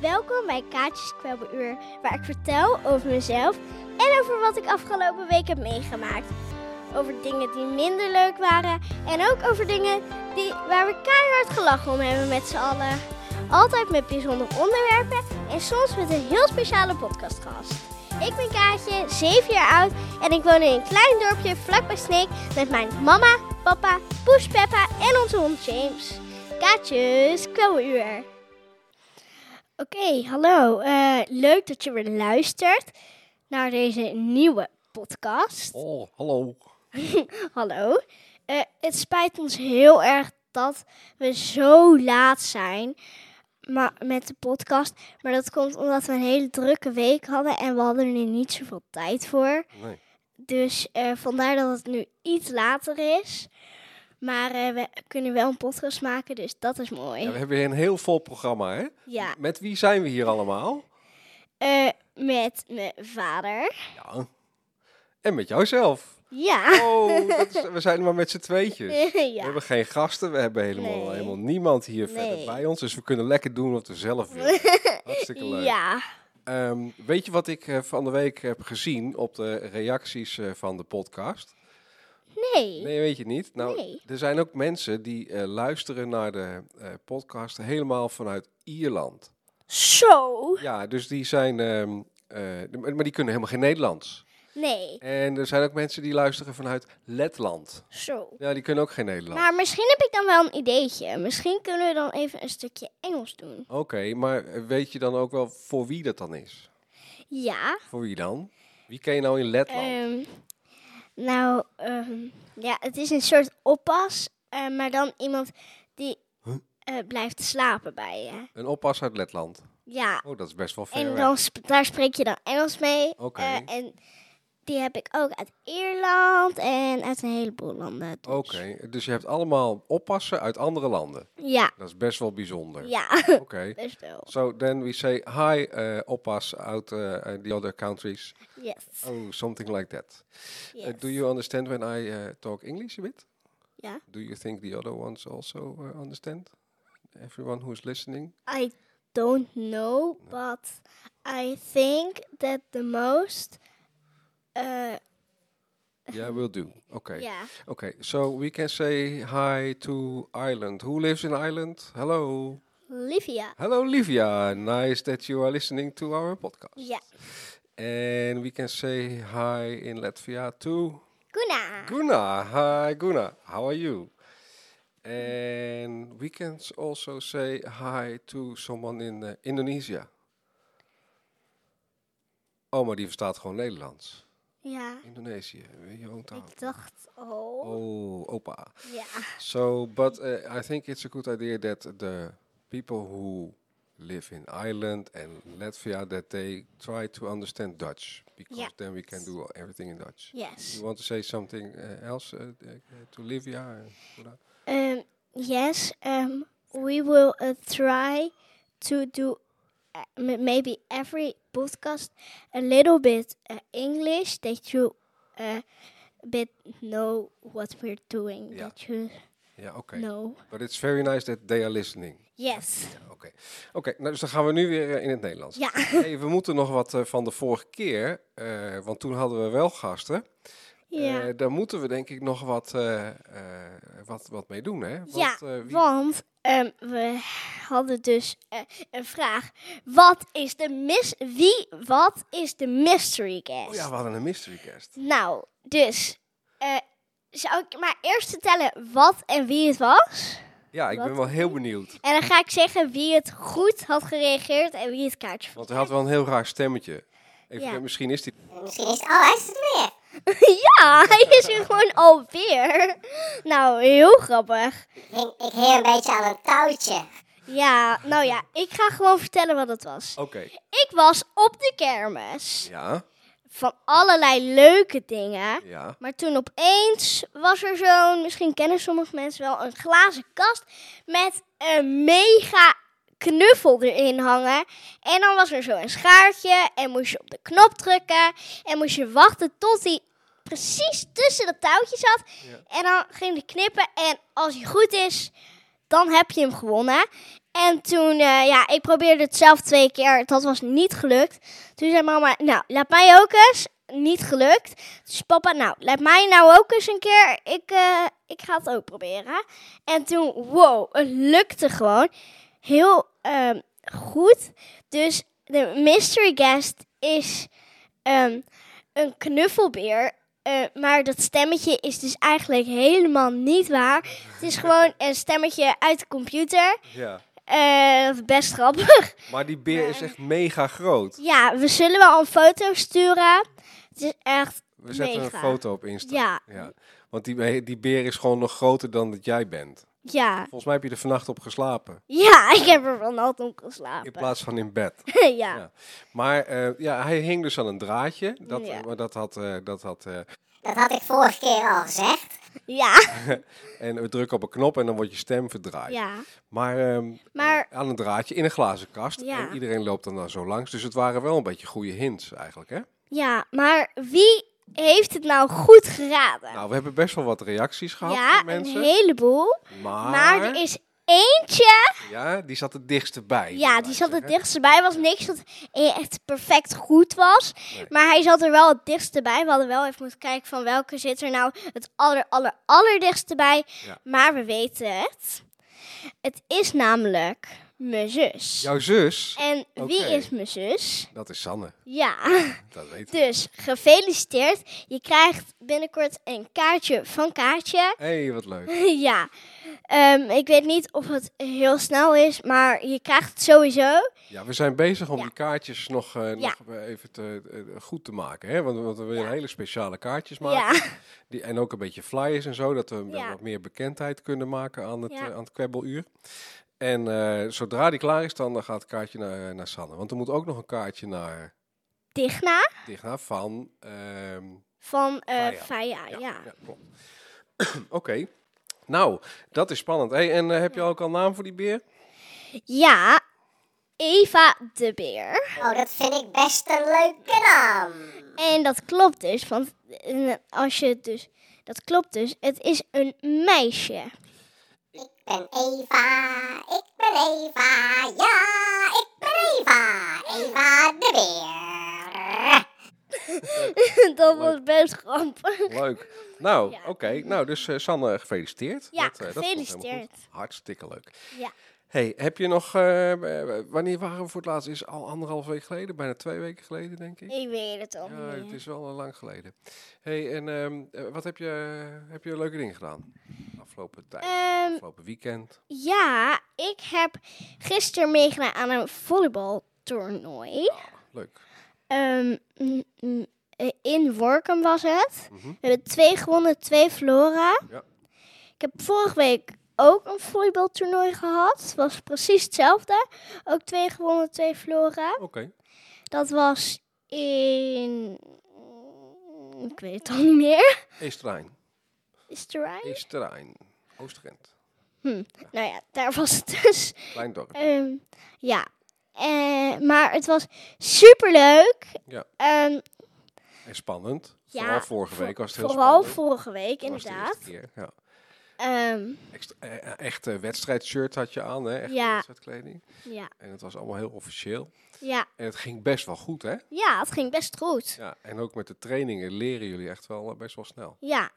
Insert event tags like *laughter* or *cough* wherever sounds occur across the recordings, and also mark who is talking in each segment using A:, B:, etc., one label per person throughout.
A: Welkom bij Kaatjes Kwebbeluur, waar ik vertel over mezelf en over wat ik afgelopen week heb meegemaakt. Over dingen die minder leuk waren en ook over dingen die, waar we keihard gelachen om hebben met z'n allen. Altijd met bijzondere onderwerpen en soms met een heel speciale podcastgast. Ik ben Kaatje, 7 jaar oud en ik woon in een klein dorpje vlakbij Sneek met mijn mama, papa, poes Peppa en onze hond James. Kaatjes Kwebbeluur. Oké, hallo. Eh, leuk dat je weer luistert naar deze nieuwe podcast.
B: Oh, hallo.
A: Hallo. Eh, het spijt ons heel erg dat we zo laat zijn maar, met de podcast. Maar dat komt omdat we een hele drukke week hadden en we hadden er niet zoveel tijd voor.
B: Nee.
A: Dus eh, vandaar dat het nu iets later is. Maar eh, we kunnen wel een podcast maken, dus dat is mooi.
B: Ja, we hebben hier een heel vol programma, hè?
A: Ja,
B: Met wie zijn we hier allemaal?
A: eh, met mijn vader.
B: Ja. En met jouzelf.
A: Ja.
B: Oh, dat is- we zijn maar met z'n tweetjes. We
A: *laughs* ja.
B: hebben geen gasten, we hebben helemaal,
A: Nee.
B: helemaal niemand hier verder
A: Nee.
B: bij ons. Dus we kunnen lekker doen wat we
A: *laughs*
B: zelf willen. Oh, Hartstikke leuk.
A: Ja.
B: Ehm, weet je wat ik eh, van de week heb gezien op de reacties eh, van de podcast?
A: Nee.
B: Nee, weet je niet. Nou,
A: Nee.
B: er zijn ook mensen die eh, luisteren naar de eh, podcast helemaal vanuit Ierland.
A: Zo.
B: Ja, dus die zijn. ehm, eh, de- maar die kunnen helemaal geen Nederlands.
A: Nee.
B: En er zijn ook mensen die luisteren vanuit Letland.
A: Zo.
B: Ja, die kunnen ook geen Nederlands.
A: Maar misschien heb ik dan wel een ideetje. Misschien kunnen we dan even een stukje Engels doen.
B: Oké, maar eh, weet je dan ook wel voor wie dat dan is?
A: Ja.
B: Voor wie dan? Wie ken je nou in Letland?
A: ehm, nou, ehm, ja, het is een soort oppas, eh, maar dan iemand die eh, blijft slapen bij je.
B: Een oppas uit Letland.
A: Ja.
B: Oh, dat is best wel ver.
A: En
B: weg.
A: dan sp- daar spreek je dan Engels mee.
B: Oké.
A: Eh, en die heb ik ook uit Ierland en uit een heleboel landen. dus.
B: Oké, dus je hebt allemaal oppassen uit andere landen.
A: Ja.
B: Dat is best wel bijzonder.
A: Ja. *laughs*
B: Oké.
A: Best wel.
B: So then we say hi, eh, oppas out eh, eh, the other countries.
A: Yes.
B: Oh, something like that. Uh,
A: yes.
B: do you understand when I uh, talk English a bit?
A: Yeah.
B: Do you think the other ones also uh, understand? Everyone who's listening?
A: I don't know, but I think that the most. Uh,
B: yeah, we'll do. Okay.
A: yeah.
B: Okay. So we can say hi to Ireland. Who lives in Ireland? Hello.
A: Livia.
B: Hello, Livia. Nice that you are listening to our podcast.
A: Yeah.
B: And we can say hi in Latvia to
A: Guna.
B: Guna. Hi, Guna. How are you? And we can s- also say hi to someone in eh, Indonesia. Oh, maar die verstaat gewoon Nederlands.
A: Ja.
B: Indonesië, eh, je woont daar.
A: Ik dacht al.
B: Oh, opa.
A: Ja.
B: So, but eh, I think it's a good idea that the people who live in Ireland and Latvia that they try to understand Dutch because
A: Ja.
B: then we can do everything in Dutch.
A: Yes.
B: You want to say something uh, else uh, uh, to Livia? and Ola?
A: Um, yes. Um, we will uh, try to do uh, m- maybe every podcast a little bit uh, English that you uh, bit know what we're doing.
B: Yeah.
A: That you
B: Ja, oké.
A: know.
B: But it's very nice that they are listening.
A: Yes.
B: Ja, Oké, Oké, nou, dus dan gaan we nu weer eh, in het Nederlands.
A: Ja.
B: *laughs* Hey, we moeten nog wat eh, van de vorige keer, eh, want toen hadden we wel gasten.
A: Ja.
B: Eh, daar moeten we denk ik nog wat, eh, eh, wat, wat mee doen, hè? Want,
A: Ja,
B: eh, wie-
A: Want ehm, we hadden dus eh, een vraag. Wat is de mis... Wie, wat is de mystery guest?
B: Oh ja, we hadden een mystery guest.
A: Nou, dus... eh, zou ik maar eerst vertellen wat en wie het was?
B: Ja, ik
A: Wat?
B: ben wel heel benieuwd.
A: En dan ga ik zeggen wie het goed had gereageerd en wie het kaartje vond.
B: Want hij had wel een heel raar stemmetje. Even,
A: Ja.
B: Misschien is die...
C: Misschien is alles het weer.
A: *laughs*
B: Oh.
A: ja, hij is hier gewoon alweer. Nou, heel grappig.
C: Ik, ik heer een beetje aan een touwtje.
A: Ja, nou ja, ik ga gewoon vertellen wat het was.
B: Oké,
A: Ik was op de kermis.
B: ja,
A: van allerlei leuke dingen.
B: ja.
A: Maar toen opeens was er zo'n, misschien kennen sommige mensen wel, een glazen kast met een mega knuffel erin hangen. En dan was er zo'n schaartje en moest je op de knop drukken en moest je wachten tot hij precies tussen dat touwtje zat. En dan ging hij knippen en als hij goed is, dan heb je hem gewonnen. En toen, eh, ja, ik probeerde het zelf twee keer. Dat was niet gelukt. Toen zei mama, nou, laat mij ook eens. Niet gelukt. Dus papa, nou, laat mij nou ook eens een keer. Ik, eh, ik ga het ook proberen. En toen, wow, het lukte gewoon. Heel ehm, goed. Dus de mystery guest is ehm, een knuffelbeer. Eh, maar dat stemmetje is dus eigenlijk helemaal niet waar. Het is gewoon een stemmetje uit de computer.
B: Ja.
A: Eh, best grappig. *laughs*
B: Maar die beer is echt mega groot.
A: Ja, we zullen wel een foto sturen. Het is echt
B: We zetten
A: mega.
B: een foto op Insta.
A: Ja.
B: Want die, be- die beer is gewoon nog groter dan dat jij bent.
A: Ja,
B: Volgens mij heb je er vannacht op geslapen.
A: ja, *laughs* ik heb er vannacht om
B: In
A: geslapen.
B: plaats van in bed.
A: *laughs* Ja.
B: Ja. Maar eh, ja, hij hing dus aan een draadje. Dat,
A: Ja.
B: maar dat had... eh, dat had eh,
C: Dat had ik vorige keer al gezegd.
A: ja,
B: en we drukken op een knop en dan wordt je stem verdraaid.
A: ja.
B: Maar, ehm,
A: Maar-
B: aan een draadje in een glazen kast.
A: Ja.
B: En iedereen loopt dan nou zo langs. Dus het waren wel een beetje goede hints eigenlijk, hè?
A: Ja, maar wie heeft het nou goed geraden?
B: Nou, we hebben best wel wat reacties gehad
A: ja,
B: van
A: een
B: mensen.
A: heleboel.
B: Maar,
A: Maar er is eentje.
B: ja, die zat het dichtst bij.
A: Ja,
B: moet
A: die
B: ik
A: zat het
B: zeggen.
A: dichtst bij. Was niks dat echt perfect goed was.
B: Nee.
A: Maar hij zat er wel het dichtst bij. We hadden wel even moeten kijken van welke zit er nou het aller, aller, allerdichtst bij.
B: Ja.
A: Maar we weten het. Het is namelijk mijn zus.
B: Jouw zus,
A: En wie
B: Oké.
A: is mijn zus?
B: dat is Sanne.
A: Ja. *laughs*
B: Dat weet ik.
A: Dus gefeliciteerd. Je krijgt binnenkort een kaartje van Kaartje. *laughs*
B: Hé, hey, wat leuk.
A: ja. Ehm, ik weet niet of het heel snel is, maar je krijgt het sowieso.
B: Ja, we zijn bezig om
A: Ja.
B: die kaartjes nog, eh, nog even te, eh, goed te maken. Hè? Want, want we willen hele speciale kaartjes maken.
A: Ja.
B: Die, en ook een beetje flyers en zo, dat we
A: Ja.
B: wat meer bekendheid kunnen maken aan het,
A: Ja.
B: eh, aan het kwebbeluur. En eh, zodra die klaar is, dan eh, gaat het kaartje naar, naar Sanne. Want er moet ook nog een kaartje naar
A: Digna
B: Digna van... ehm,
A: van eh
B: Faya.
A: Faya, ja.
B: klopt. *clears throat* Oké. Nou, dat is spannend. Hey, en eh, heb je ook al naam voor die beer?
A: Ja, Eva de Beer.
C: Oh, dat vind ik best een leuke naam.
A: En dat klopt dus, want eh, als je het dus... Dat klopt dus, het is een meisje. *laughs*
C: Ik ben Eva, ik ben Eva, ja, ik ben Eva. Eva de beer.
A: dat was best grappig.
B: Leuk. Nou,
A: Ja.
B: oké. Nou, dus eh, Sanne, gefeliciteerd.
A: Ja,
B: eh, komt helemaal
A: gefeliciteerd.
B: goed. Hartstikke leuk.
A: Ja.
B: Hey, heb je nog... eh, eh, wanneer waren we voor het laatst? Is al anderhalf week geleden, bijna twee weken geleden, denk ik.
A: Ik weet het al
B: Ja,
A: niet
B: het
A: meer.
B: is wel eh, lang geleden. Hey, en ehm, eh, wat heb je, heb je leuke dingen gedaan? Afgelopen tijd,
A: Ehm,
B: afgelopen weekend.
A: ja, ik heb gisteren meegedaan aan een volleybaltoernooi.
B: Leuk.
A: Ehm, mm, mm, eh, in Workum was het.
B: Mhm.
A: We hebben twee gewonnen, twee verloren.
B: Ja.
A: Ik heb vorige week ook een volleybaltoernooi gehad. Het was precies hetzelfde. Ook twee gewonnen, twee verloren.
B: Oké.
A: Dat was in... mm, Ik weet het al niet meer.
B: Eesterijn.
A: Is het erbij?
B: Eesterijn. Oostrent.
A: Nou ja, daar was het dus.
B: Klein dorp.
A: Ehm, ja. Eh, maar het was superleuk.
B: Ja.
A: Ehm,
B: En spannend.
A: Ja,
B: vooral vorige
A: voor-
B: week was het heel
A: vooral
B: spannend.
A: vorige week,
B: Dat was de
A: inderdaad.
B: eerste keer, ja.
A: Ehm,
B: Echt, eh, echt eh, wedstrijdshirt had je aan, hè? Echt eh,
A: Ja.
B: wedstrijdkleding.
A: ja.
B: En het was allemaal heel officieel.
A: Ja.
B: En het ging best wel goed, hè?
A: ja, het ging best goed.
B: Ja, en ook met de trainingen leren jullie echt wel eh, best wel snel.
A: Ja,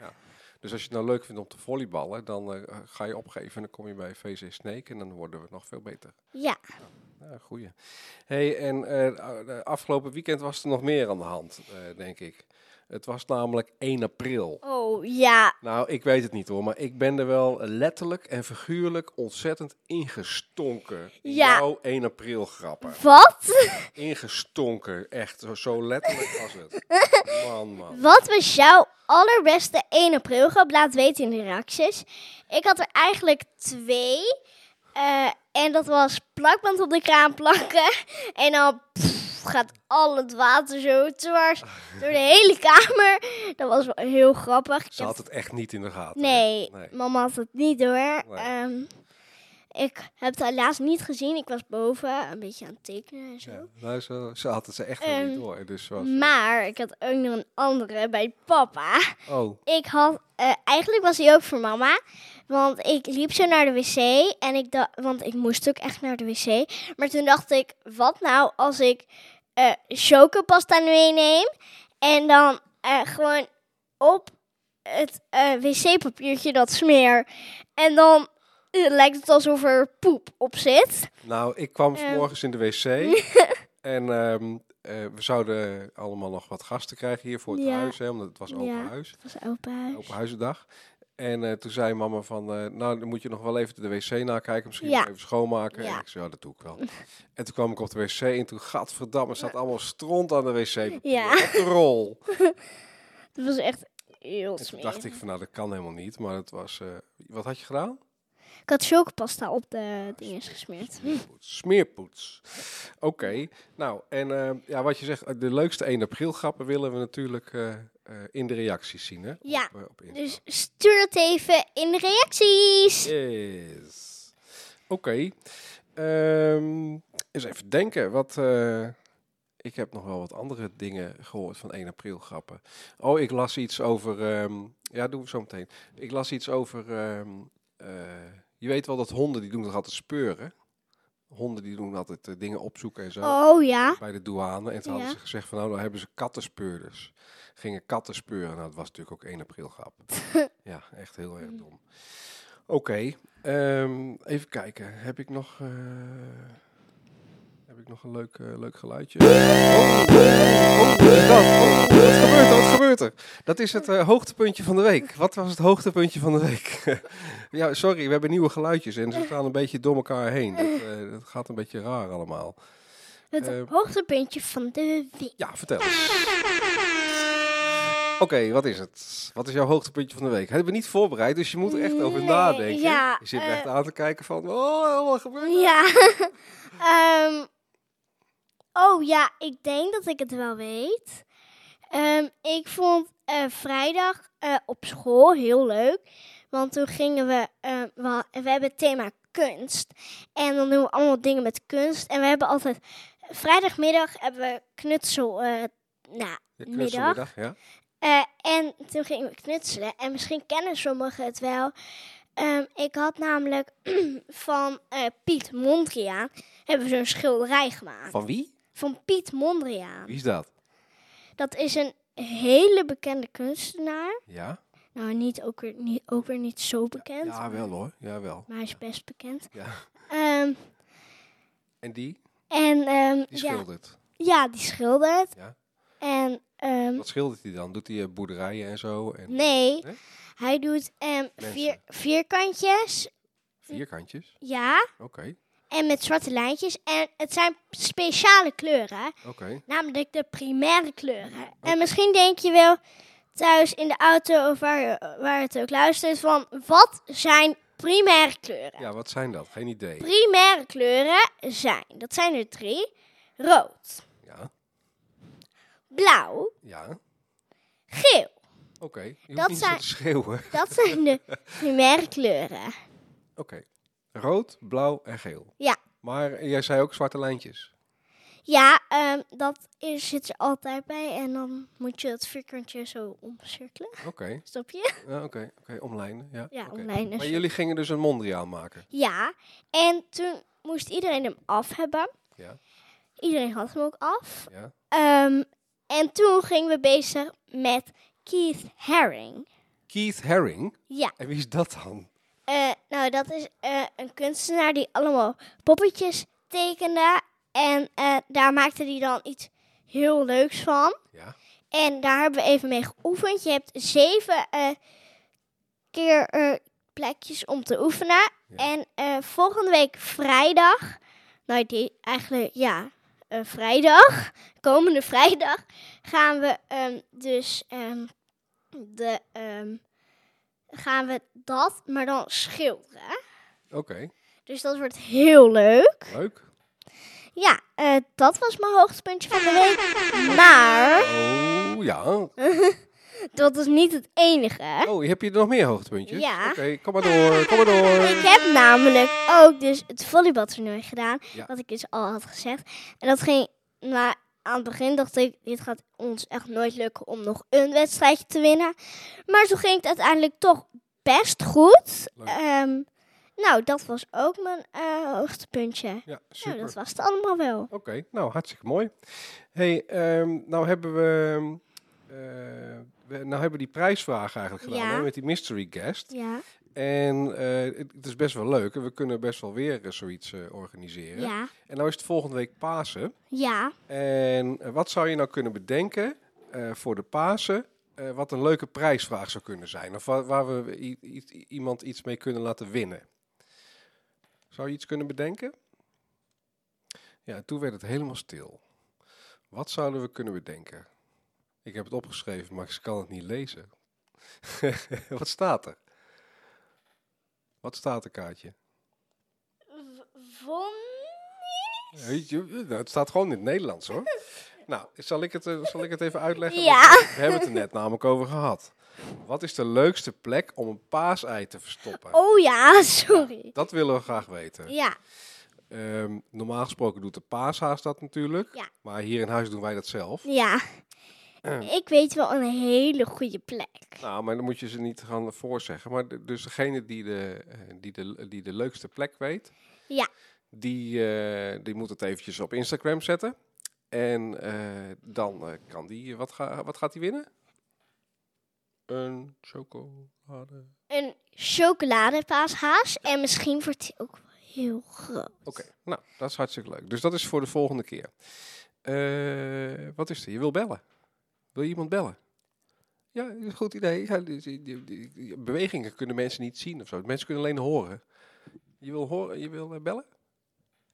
B: Dus als je het nou leuk vindt om te volleyballen, dan eh, ga je opgeven en dan kom je bij VC Snake en dan worden we nog veel beter.
A: ja.
B: Ja, goeie. hey, en eh, eh, afgelopen weekend was er nog meer aan de hand, eh, denk ik. Het was namelijk 1 april.
A: Oh ja,
B: Nou, ik weet het niet hoor, maar ik ben er wel letterlijk en figuurlijk ontzettend ingestonken. In
A: Ja.
B: jouw 1 april grappen.
A: wat?
B: Ingestonken, echt. Zo, zo letterlijk was
A: *laughs*
B: het. Man, man.
A: Wat was jouw allerbeste 1 april grap? Laat weten in de reacties. Ik had er eigenlijk twee. Eh, en dat was plakband op de kraan plakken. En dan pff, gaat al het water zo dwars door de hele kamer. Dat was wel heel grappig. Ik
B: Ze
A: heb-
B: had het echt niet in de gaten. hè?
A: nee,
B: Nee.
A: mama had het niet door. Ehm, Ik heb het helaas niet gezien. Ik was boven een beetje aan het tekenen en zo.
B: Ja, nou, zo, ze had het ze echt wel niet
A: Ehm,
B: door. Dus was,
A: Maar ik had ook nog een andere bij papa.
B: oh,
A: Ik had, eh, eigenlijk was hij ook voor mama. Want ik liep zo naar de wc en ik dacht, want ik moest ook echt naar de wc. Maar toen dacht ik, wat nou als ik eh chocopasta meeneem en dan eh, gewoon op het eh, wc-papiertje dat smeer. En dan eh, lijkt het alsof er poep op zit.
B: nou, ik kwam
A: Ehm.
B: morgens in de
A: *laughs*
B: wc. en ehm, eh, we zouden allemaal nog wat gasten krijgen hier voor het
A: Ja.
B: huis. Hè, omdat het was open
A: Ja.
B: huis.
A: Dat was open huis.
B: op huizendag. En eh, toen zei mama van, eh, nou dan moet je nog wel even de wc nakijken, misschien
A: Ja.
B: nog even schoonmaken.
A: Ja.
B: En ik zei, ja, dat doe ik wel. *laughs* en toen kwam ik op de wc en toen, gadverdamme, zat allemaal stront aan de wc.
A: Ja.
B: Op de
A: *laughs*
B: rol.
A: Dat was echt heel
B: En toen
A: smerig.
B: dacht ik van, nou dat kan helemaal niet, maar het was, eh, wat had je gedaan?
A: Ik had chocopasta op de dinges gesmeerd.
B: Smeerpoets. Smeerpoets. Oké, nou en eh, ja, wat je zegt, eh, de leukste 1 april grappen willen we natuurlijk eh, eh, in de reacties zien, hè?
A: Ja,
B: Op, eh, op Insta.
A: Dus stuur het even in de reacties.
B: Yes. Oké. Ehm, eens even denken. Wat, eh, ik heb nog wel wat andere dingen gehoord van 1 april grappen. Oh, ik las iets over... ehm, ja, doen we zo meteen. Ik las iets over... ehm, eh, je weet wel dat honden, die doen toch altijd speuren? Honden die doen altijd eh, dingen opzoeken en zo
A: Oh ja.
B: bij de douane. En toen hadden
A: Ja.
B: ze gezegd van nou, dan hebben ze kattenspeurders. Gingen katten speuren. Nou, dat was natuurlijk ook 1 april
A: *laughs*
B: grap. ja, echt heel erg dom. Oké, ehm, even kijken. Heb ik nog, eh, heb ik nog een leuk, eh, leuk geluidje? Oh, oh, wat is dat? Oh, wat gebeurt er? Wat gebeurt er? Dat is het eh, hoogtepuntje van de week. Wat was het hoogtepuntje van de week? *laughs* ja, sorry, we hebben nieuwe geluidjes
A: *laughs*
B: en ze gaan een beetje door elkaar heen. Dat, eh, dat gaat een beetje raar allemaal.
A: Het
B: Eh.
A: hoogtepuntje van de week. *laughs*
B: Ja, vertel eens. Oké, wat is het? Wat is jouw hoogtepuntje van de week? Hebben we niet voorbereid, dus je moet er echt over
A: Nee,
B: nadenken.
A: ja,
B: je zit er
A: eh,
B: echt aan te kijken van, oh, wat gebeurt er?
A: Ja. Ehm, oh ja, ik denk dat ik het wel weet. Ehm, ik vond eh, vrijdag eh, op school heel leuk. Want toen gingen we, eh, we, ha- we hebben het thema kunst. En dan doen we allemaal dingen met kunst. En we hebben altijd, vrijdagmiddag hebben we knutsel, eh nou,
B: Ja,
A: middag.
B: knutselmiddag, ja.
A: Eh, en toen gingen we knutselen. En misschien kennen sommigen het wel. Ehm, ik had namelijk *clears throat* van eh, Piet Mondriaan hebben we zo'n schilderij gemaakt.
B: Van wie?
A: Van Piet Mondriaan.
B: Wie is dat?
A: Dat is een hele bekende kunstenaar.
B: Ja?
A: Nou, niet ook, weer, niet, ook weer niet zo bekend.
B: Ja, wel hoor. Ja, wel.
A: Maar hij is best bekend.
B: Ja.
A: Ehm,
B: En die?
A: en ehm,
B: Die
A: ja,
B: schildert.
A: ja, die schildert.
B: Ja.
A: En ehm,
B: Wat schildert hij dan? Doet hij eh, boerderijen en zo? En
A: nee,
B: Nee?
A: hij doet ehm,
B: Mensen.
A: vier, vierkantjes.
B: Vierkantjes?
A: Ja.
B: Oké,
A: En met zwarte lijntjes. En het zijn speciale kleuren,
B: oké.
A: namelijk de primaire kleuren. En misschien denk je wel thuis in de auto of waar, je- waar het ook luistert van wat zijn primaire kleuren?
B: Ja, wat zijn dat? Geen idee.
A: Primaire kleuren zijn, dat zijn er drie, rood,
B: Ja,
A: blauw,
B: ja. Oké.
A: geel.
B: Je hoeft
A: Dat
B: niet
A: zijn-
B: zo te schreeuwen.
A: Dat zijn de primaire kleuren.
B: Oké. Rood, blauw en geel.
A: Ja.
B: Maar jij zei ook zwarte lijntjes.
A: Ja, ehm, dat is, zit er altijd bij en dan moet je het vierkantje zo omcirkelen.
B: Oké,
A: Stop je?
B: ja, oké, oké, omlijnen. Ja,
A: Ja,
B: oké.
A: omlijnen.
B: Maar jullie gingen dus een Mondriaan maken.
A: Ja, en toen moest iedereen hem af hebben.
B: Ja.
A: Iedereen had hem ook af.
B: Ja.
A: Ehm, en toen gingen we bezig met Keith Haring.
B: Keith Haring.
A: Ja,
B: En wie is dat dan?
A: eh, nou dat is eh, een kunstenaar die allemaal poppetjes tekende. En eh, daar maakte hij dan iets heel leuks van.
B: Ja.
A: En daar hebben we even mee geoefend. Je hebt zeven eh, keer eh, plekjes om te oefenen. En eh, volgende week vrijdag, nou die eigenlijk ja, eh, vrijdag, *laughs* komende vrijdag, gaan we ehm, dus ehm, de, ehm, gaan we dat, maar dan schilderen.
B: Oké,
A: Dus dat wordt heel leuk.
B: leuk.
A: Ja, eh, dat was mijn hoogtepuntje van de week. Maar
B: Oh, ja.
A: Dat is niet het enige.
B: Oh, heb je er nog meer hoogtepuntjes?
A: Ja.
B: Oké, kom maar door, kom maar door.
A: Ik heb namelijk ook dus het volleybaltoernooi gedaan.
B: Ja.
A: Wat ik dus al had gezegd. En dat ging... Maar aan het begin dacht ik... Dit gaat ons echt nooit lukken om nog een wedstrijdje te winnen. Maar zo ging het uiteindelijk toch best goed.
B: Leuk.
A: Ehm, nou, dat was ook mijn eh, hoogtepuntje.
B: Ja,
A: Nou,
B: super.
A: dat was het allemaal wel.
B: Oké, nou hartstikke mooi. hey, ehm, nou hebben we, eh, we- nou hebben we die prijsvraag eigenlijk gedaan
A: Ja.
B: hè, met die mystery guest.
A: Ja,
B: En eh, het, het is best wel leuk en we kunnen best wel weer eh, zoiets eh, organiseren.
A: ja,
B: En nou is het volgende week Pasen.
A: ja.
B: En eh, wat zou je nou kunnen bedenken eh, voor de Pasen? eh, wat een leuke prijsvraag zou kunnen zijn. Of waar, waar we i- i- iemand iets mee kunnen laten winnen. Zou je iets kunnen bedenken? Ja, en toen werd het helemaal stil. Wat zouden we kunnen bedenken? Ik heb het opgeschreven, maar ik kan het niet lezen. *laughs* wat staat er? Wat staat er, Kaatje? Weet je, nou, het staat gewoon in het
A: *laughs*
B: Nederlands hoor. Nou, zal ik het, eh, zal ik het even uitleggen? Want
A: Ja.
B: We hebben het er net namelijk over gehad. Wat is de leukste plek om een paasei te verstoppen?
A: Oh ja, *laughs* sorry.
B: Dat willen we graag weten.
A: Ja,
B: Ehm, normaal gesproken doet de paashaas dat natuurlijk.
A: Ja.
B: Maar hier in huis doen wij dat zelf.
A: ja. Ik weet wel een hele goede plek.
B: Nou, maar dan moet je ze niet gaan voorzeggen. Maar de- dus degene die de, eh, die de, die de leukste plek weet,
A: Ja.
B: die, eh, die moet het eventjes op Instagram zetten. En eh, dan eh, kan die, wat, ga, wat gaat die winnen? Een chocolade.
A: Een chocoladepaashaas. En misschien wordt die ook wel heel groot.
B: Oké, nou, dat is hartstikke leuk. Dus dat is voor de volgende keer. Eh, wat is er? Je wil bellen. Wil je iemand bellen? Ja, dat is een goed idee. Ja, die- die- die- die- die bewegingen kunnen mensen niet zien of zo. Mensen kunnen alleen horen. Je wil, horen, je wil eh, bellen?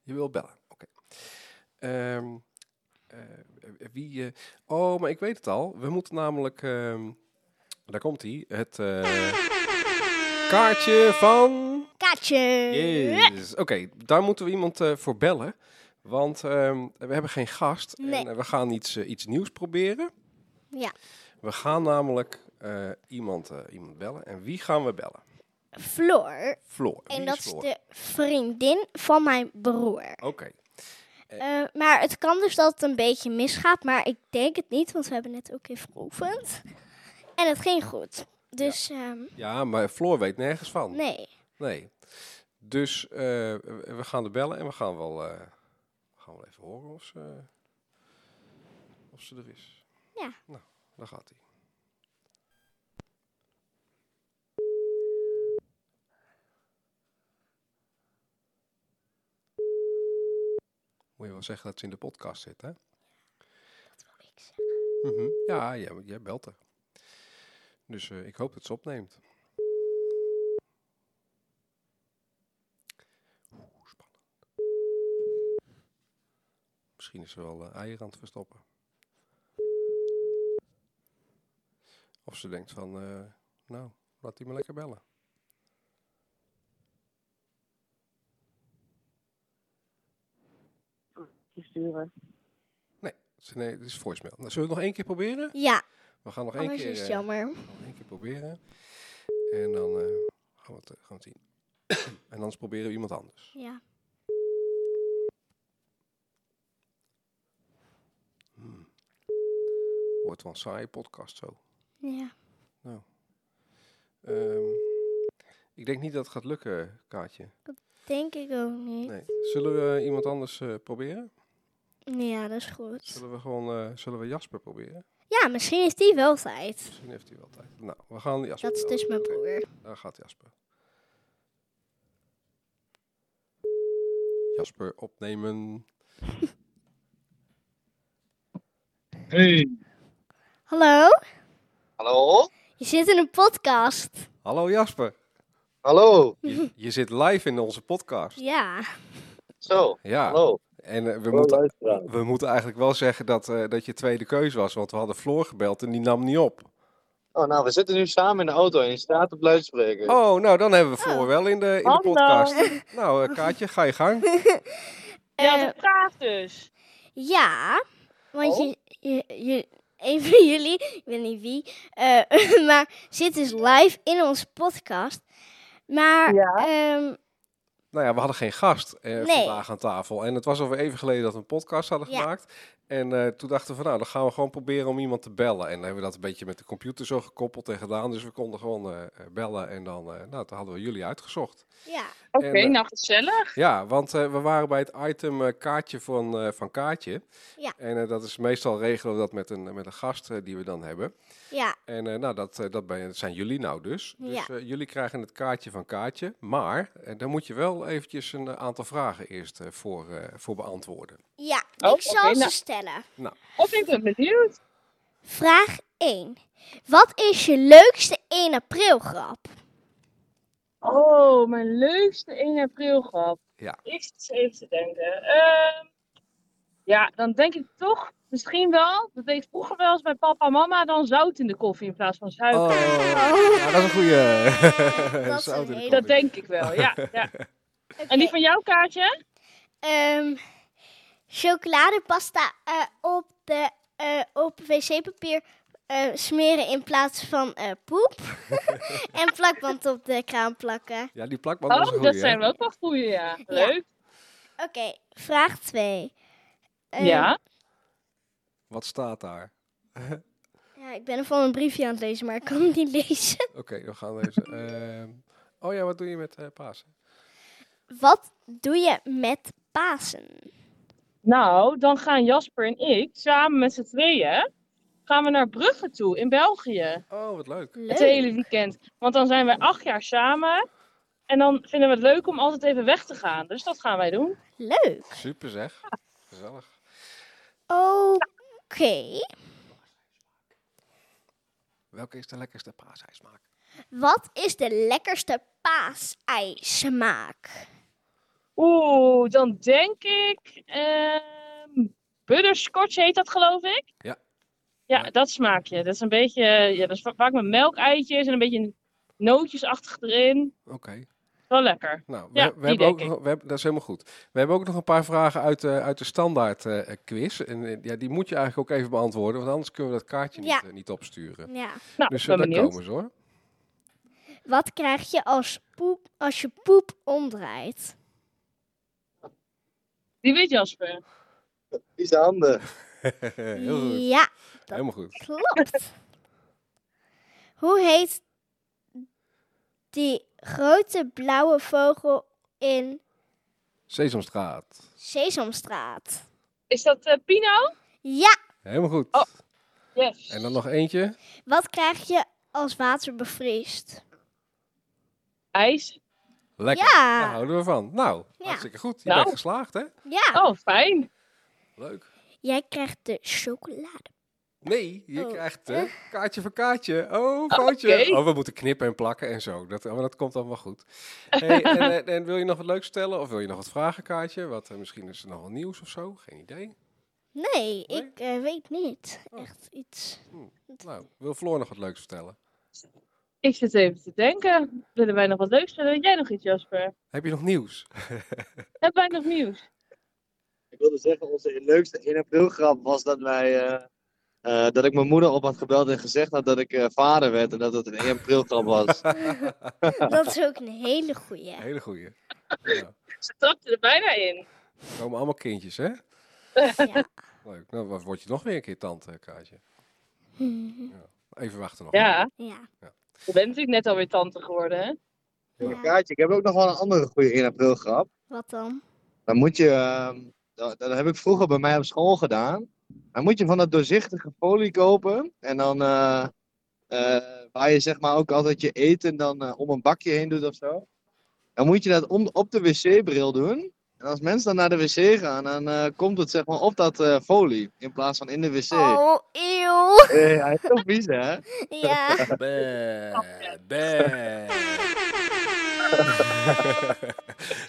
B: Je wil bellen, oké. Ehm, eh, wie... eh, oh, maar ik weet het al. We moeten namelijk... ehm, daar komt hij. Het eh, kaartje van...
A: Kaatje.
B: Yes. Oké, daar moeten we iemand eh, voor bellen. Want ehm, we hebben geen gast.
A: Nee.
B: En eh, we gaan iets, eh, iets nieuws proberen.
A: Ja.
B: We gaan namelijk eh, iemand, eh, iemand bellen. En wie gaan we bellen?
A: Floor.
B: Floor. Wie
A: En
B: is
A: dat is
B: Floor?
A: de vriendin van mijn broer.
B: Oké.
A: Eh, maar het kan dus dat het een beetje misgaat. Maar ik denk het niet, want we hebben net ook even geoefend. En het ging goed. Dus ehm,
B: Ja, maar Floor weet nergens van.
A: nee.
B: Nee. Dus eh, we we gaan er bellen en we gaan wel, eh, we gaan wel even horen of ze, of ze er is.
A: Ja.
B: Nou, daar gaat hij. Moet je wel zeggen dat ze in de podcast zit, hè?
A: Dat wil ik zeggen.
B: Mhm. Ja, jij, jij belt er. Dus eh, ik hoop dat ze opneemt. Oeh, spannend. Misschien is ze wel eh, eieren aan het verstoppen. Of ze denkt van, eh, nou, laat die maar lekker bellen.
D: sturen.
B: Ze- Nee, het is voicemail. Nou, zullen we het nog één keer proberen?
A: Ja,
B: We gaan nog één
A: anders
B: keer...
A: Oh, is het
B: eh,
A: jammer.
B: Nog één keer proberen. En dan eh, gaan, we het, eh, gaan we het zien. *clears throat* en anders proberen we iemand anders.
A: Ja.
B: Wordt wel een saaie podcast zo.
A: ja.
B: Ehm, ik denk niet dat het gaat lukken, Kaatje.
A: Denk ik ook niet.
B: Nee. Zullen we iemand anders eh, proberen?
A: Ja, dat is goed.
B: Zullen we gewoon eh, zullen we Jasper proberen?
A: Ja, misschien is die wel tijd.
B: Misschien heeft hij wel tijd. Nou, we gaan Jasper.
A: Dat is
B: bellen.
A: dus mijn
B: Oké,
A: broer.
B: daar gaat Jasper. Jasper opnemen.
E: Hey,
A: Hallo?
F: Hallo?
A: Je zit in een podcast.
B: Hallo Jasper.
F: Hallo.
A: *laughs*
B: Je, je zit live in onze podcast.
A: Ja.
F: Zo,
B: Ja.
F: hallo.
B: En eh, we,
F: Hallo,
B: moeten,
F: luisteraar.
B: we moeten eigenlijk wel zeggen dat, eh, dat je tweede keus was, want we hadden Floor gebeld en die nam niet op.
F: Oh, nou, we zitten nu samen in de auto en je staat op luidspreker.
B: Oh, nou dan hebben we Floor
A: Ah,
B: wel in de, in de
D: Hallo.
B: podcast. Nou, eh, Kaatje, ga
A: *laughs*
B: je gang.
D: Ja,
A: Eh,
D: de vraag dus.
A: ja. Want
F: Oh.
A: je, je, je, een van *laughs* jullie, ik weet niet wie, eh, *laughs* maar zit dus live in onze podcast. Maar
D: Ja.
A: ehm,
B: Nou ja, we hadden geen gast eh,
A: Nee.
B: vandaag aan tafel. En het was alweer even geleden dat we een podcast hadden
A: Ja.
B: gemaakt. En eh, toen dachten we van nou, dan gaan we gewoon proberen om iemand te bellen. En dan hebben we dat een beetje met de computer zo gekoppeld en gedaan. Dus we konden gewoon eh, bellen en dan, eh, nou, toen hadden we jullie uitgezocht.
A: ja,
D: Oké,
B: En, eh,
D: nou gezellig.
B: Ja, want eh, we waren bij het item eh, kaartje van, eh, van Kaartje.
A: Ja.
B: En eh, dat is meestal regelen we dat met een, met een gast eh, die we dan hebben.
A: ja,
B: En eh, nou, dat, eh, dat ben- zijn jullie nou dus. Dus
A: Ja.
B: eh, jullie krijgen het kaartje van Kaartje. Maar eh, dan moet je wel eventjes een eh, aantal vragen eerst eh, voor, eh, voor beantwoorden.
A: ja.
D: Oh,
A: ik zal
D: oké,
A: ze
D: nou.
A: stellen.
D: Of ik ben benieuwd.
A: Vraag 1. Wat is je leukste 1 april grap?
D: Oh, mijn leukste 1 april grap.
B: Ja.
D: Is het even te denken. Ehm, ja, dan denk ik toch misschien wel. Dat deed vroeger wel eens bij papa en mama. Dan zout in de koffie in plaats van suiker.
B: Oh, ja, dat is een *laughs* goede.
A: *laughs* Dat is een hele-
D: dat denk ik wel, ja.
B: *laughs*
D: ja. En die van jou, Kaartje?
A: Ehm, chocoladepasta eh, op, de, eh, op wc-papier eh, smeren in plaats van eh, poep. en plakband op de kraan plakken.
B: Ja, die plakband
D: Oh,
B: is een
D: dat
B: goeie,
D: zijn
B: hè?
D: we ook wel goeie, ja. Leuk.
A: Oké, vraag Ehm, 2.
B: Eh.
D: ja.
B: Wat staat daar?
A: Ik ben er van een briefje aan het lezen, maar ik kan het niet *laughs* lezen.
B: Oké, we gaan lezen. *laughs* Ehm, oh ja, wat doe je met eh Pasen?
A: Wat doe je met Pasen?
D: Nou, dan gaan Jasper en ik samen met z'n tweeën gaan we naar Brugge toe in België.
B: Oh, wat leuk.
A: Leuk.
D: Het hele weekend. Want dan zijn wij acht jaar samen. En dan vinden we het leuk om altijd even weg te gaan. Dus dat gaan wij doen.
A: Leuk.
B: Super zeg. Gezellig.
A: Oké.
B: Welke is de lekkerste paasijsmaak?
A: Wat is de lekkerste paasijsmaak?
D: Oeh, dan denk ik. ehm butterscotch heet dat, geloof ik.
B: Ja.
D: Ja,
B: Ja.
D: dat smaakje. Dat is een beetje. Ja, dat is va- vaak met melkeitjes en een beetje nootjesachtig erin.
B: Oké.
D: Wel lekker.
B: Nou, we,
D: Ja,
B: we
D: die
B: hebben ook,
D: denk
B: nog- we hebben, dat is helemaal goed. We hebben ook nog een paar vragen uit de, uit de standaard eh, eh, quiz. En eh, ja, die moet je eigenlijk ook even beantwoorden, want anders kunnen we dat kaartje
A: Ja.
B: niet, eh, niet opsturen.
A: Ja.
D: Nou,
B: Dus
D: ik
B: eh,
D: ben
B: daar
D: benieuwd.
B: komen ze hoor. *laughs*
A: Wat krijg je als, poep, als je poep omdraait?
D: Die weet Jasper.
F: Die zijn handen.
B: Heel goed.
A: Ja,
B: Helemaal goed.
A: klopt. Hoe heet die grote blauwe vogel in
B: Sesamstraat.
A: Sesamstraat?
D: Is dat eh, Pino?
A: Ja,
B: Helemaal goed.
D: Oh. Yes.
B: En dan nog eentje.
A: wat krijg je als water bevriest?
D: ijs.
B: Lekker. Daar
A: Ja,
B: houden we van. Nou,
A: Ja.
B: hartstikke goed. Je
D: Nou.
B: bent geslaagd, hè?
A: ja.
D: Oh, fijn.
B: Leuk.
A: Jij krijgt de chocolade.
B: Nee, je
A: Oh.
B: krijgt eh, kaartje voor kaartje. Oh, foutje.
D: oké.
B: Oh, we moeten knippen en plakken en zo. Dat, maar dat komt allemaal goed. Hey, en, eh, en wil je nog wat leuks vertellen? Of wil je nog wat vragen, kaartje? Wat, eh, misschien is er nog wel nieuws of zo. Geen idee.
A: Nee, ik eh, weet niet.
B: Oh.
A: Echt iets.
B: Nou, wil Floor nog wat leuks vertellen?
D: Ik zit even te denken. Willen wij nog wat leuks doen? Weet jij nog iets, Jasper?
B: Heb je nog nieuws?
D: Hebben wij nog nieuws?
F: Ik wilde zeggen, onze leukste 1 april grap was dat wij... eh, eh, dat ik mijn moeder op had gebeld en gezegd had dat ik eh, vader werd en dat het een 1 april grap
B: *laughs*
F: was.
A: Dat is ook een hele goeie.
B: Hele goeie. Ja,
D: Ze trapte er bijna in.
B: er komen allemaal kindjes, hè?
A: Ja. *laughs*
B: Leuk. Nou, wat word je nog weer een keer tante, eh, kaartje?
A: Hm,
B: Even wachten nog.
D: Ja,
A: ja.
D: je bent natuurlijk net alweer tante geworden, hè?
A: Ja.
F: Kaartje, ik heb ook nog wel een andere goede 1 april grap.
A: Wat dan?
F: Dan moet je, ehm, dat, dat heb ik vroeger bij mij op school gedaan. Dan moet je van dat doorzichtige folie kopen. En dan eh, eh, waar je zeg maar ook altijd je eten dan eh, om een bakje heen doet of zo. Dan moet je dat om, op de wc-bril doen. En als mensen dan naar de wc gaan, dan eh, komt het zeg maar op dat eh, folie. In plaats van in de wc.
A: Oh, eeuw.
F: Eh, ja, heel vies hè?
A: Ja.
B: Bäh, bäh.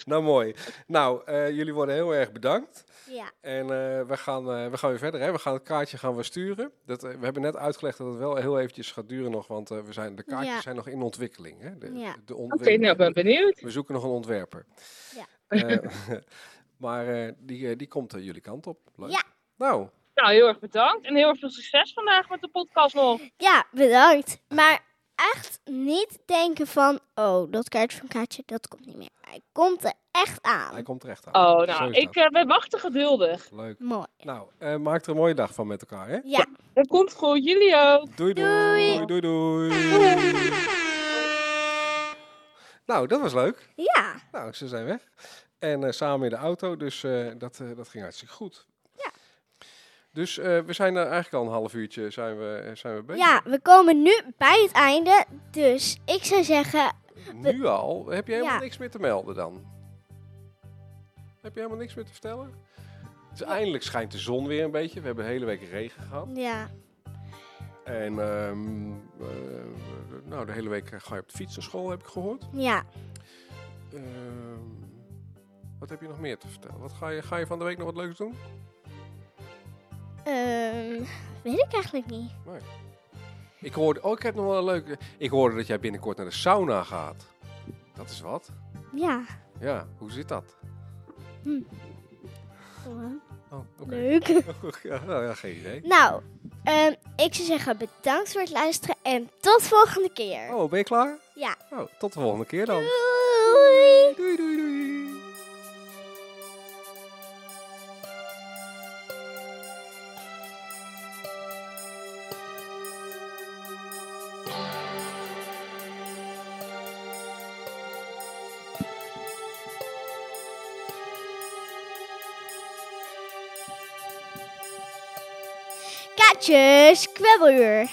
B: nou mooi. Nou, eh, jullie worden heel erg bedankt.
A: ja.
B: En eh, we, gaan, eh, we gaan weer verder. Hè? We gaan het kaartje gaan we sturen. Dat, eh, we hebben net uitgelegd dat het wel heel eventjes gaat duren nog, want eh, we zijn, de kaartjes
A: Ja.
B: zijn nog in ontwikkeling. Hè? De,
A: Ja.
B: de
D: Oké,
B: ontwikkeling.
D: nou, ik ben benieuwd.
B: We zoeken nog een ontwerper.
A: Ja.
D: *laughs*
B: *laughs* Eh, maar eh, die, eh, die komt eh, jullie kant op. Leuk.
A: Ja. Oh.
B: Nou,
D: Nou, heel erg bedankt. En heel erg veel succes vandaag met de podcast nog.
A: Ja, bedankt. Maar echt niet denken van, oh, dat kaartje van Kaatje, dat komt niet meer. Hij komt er echt
B: Hij
A: aan.
B: komt terecht aan.
D: Oh,
B: Zo
D: nou,
B: is
D: ik
B: dat.
D: eh, ben wachten geduldig.
B: Leuk.
A: Mooi.
B: Nou, eh, maak er een mooie dag van met elkaar, hè?
A: Ja.
D: Dat komt goed, jullie ook.
B: Doei
A: Doei.
B: doei. Doei
A: *laughs*
B: doei. Nou, dat was leuk.
A: Ja.
B: Nou, ze zijn weg. En eh, samen in de auto, dus eh, dat, eh, dat ging hartstikke goed.
A: Ja.
B: Dus eh, we zijn er eigenlijk al een half uurtje zijn we, eh, zijn we bezig.
A: Ja, we komen nu bij het einde. Dus ik zou zeggen,
B: Nu al? Heb je helemaal
A: Ja.
B: niks meer te melden dan? Heb je helemaal niks meer te vertellen? Dus eindelijk schijnt de zon weer een beetje. We hebben de hele week regen gehad.
A: ja,
B: En ehm, eh, nou, de hele week ga je op de fiets naar school, heb ik gehoord.
A: ja.
B: Ehm, wat heb je nog meer te vertellen? Wat ga, je, ga je van de week nog wat leuks doen?
A: Ehm, weet ik eigenlijk niet.
B: Ik hoorde, oh, ik heb nog wel een leuke. Ik hoorde dat jij binnenkort naar de sauna gaat. Dat is wat.
A: Ja.
B: Ja, hoe zit dat? Oh, oké. *laughs*
A: Leuk.
B: ja, nou ja, geen idee.
A: Nou, ehm, ik zou zeggen bedankt voor het luisteren en tot volgende keer.
B: Oh, ben je klaar?
A: Ja.
B: Nou, tot de volgende keer dan.
A: Doei.
B: Doei, doei, doei.
A: Kaatjes, kwebbeluur.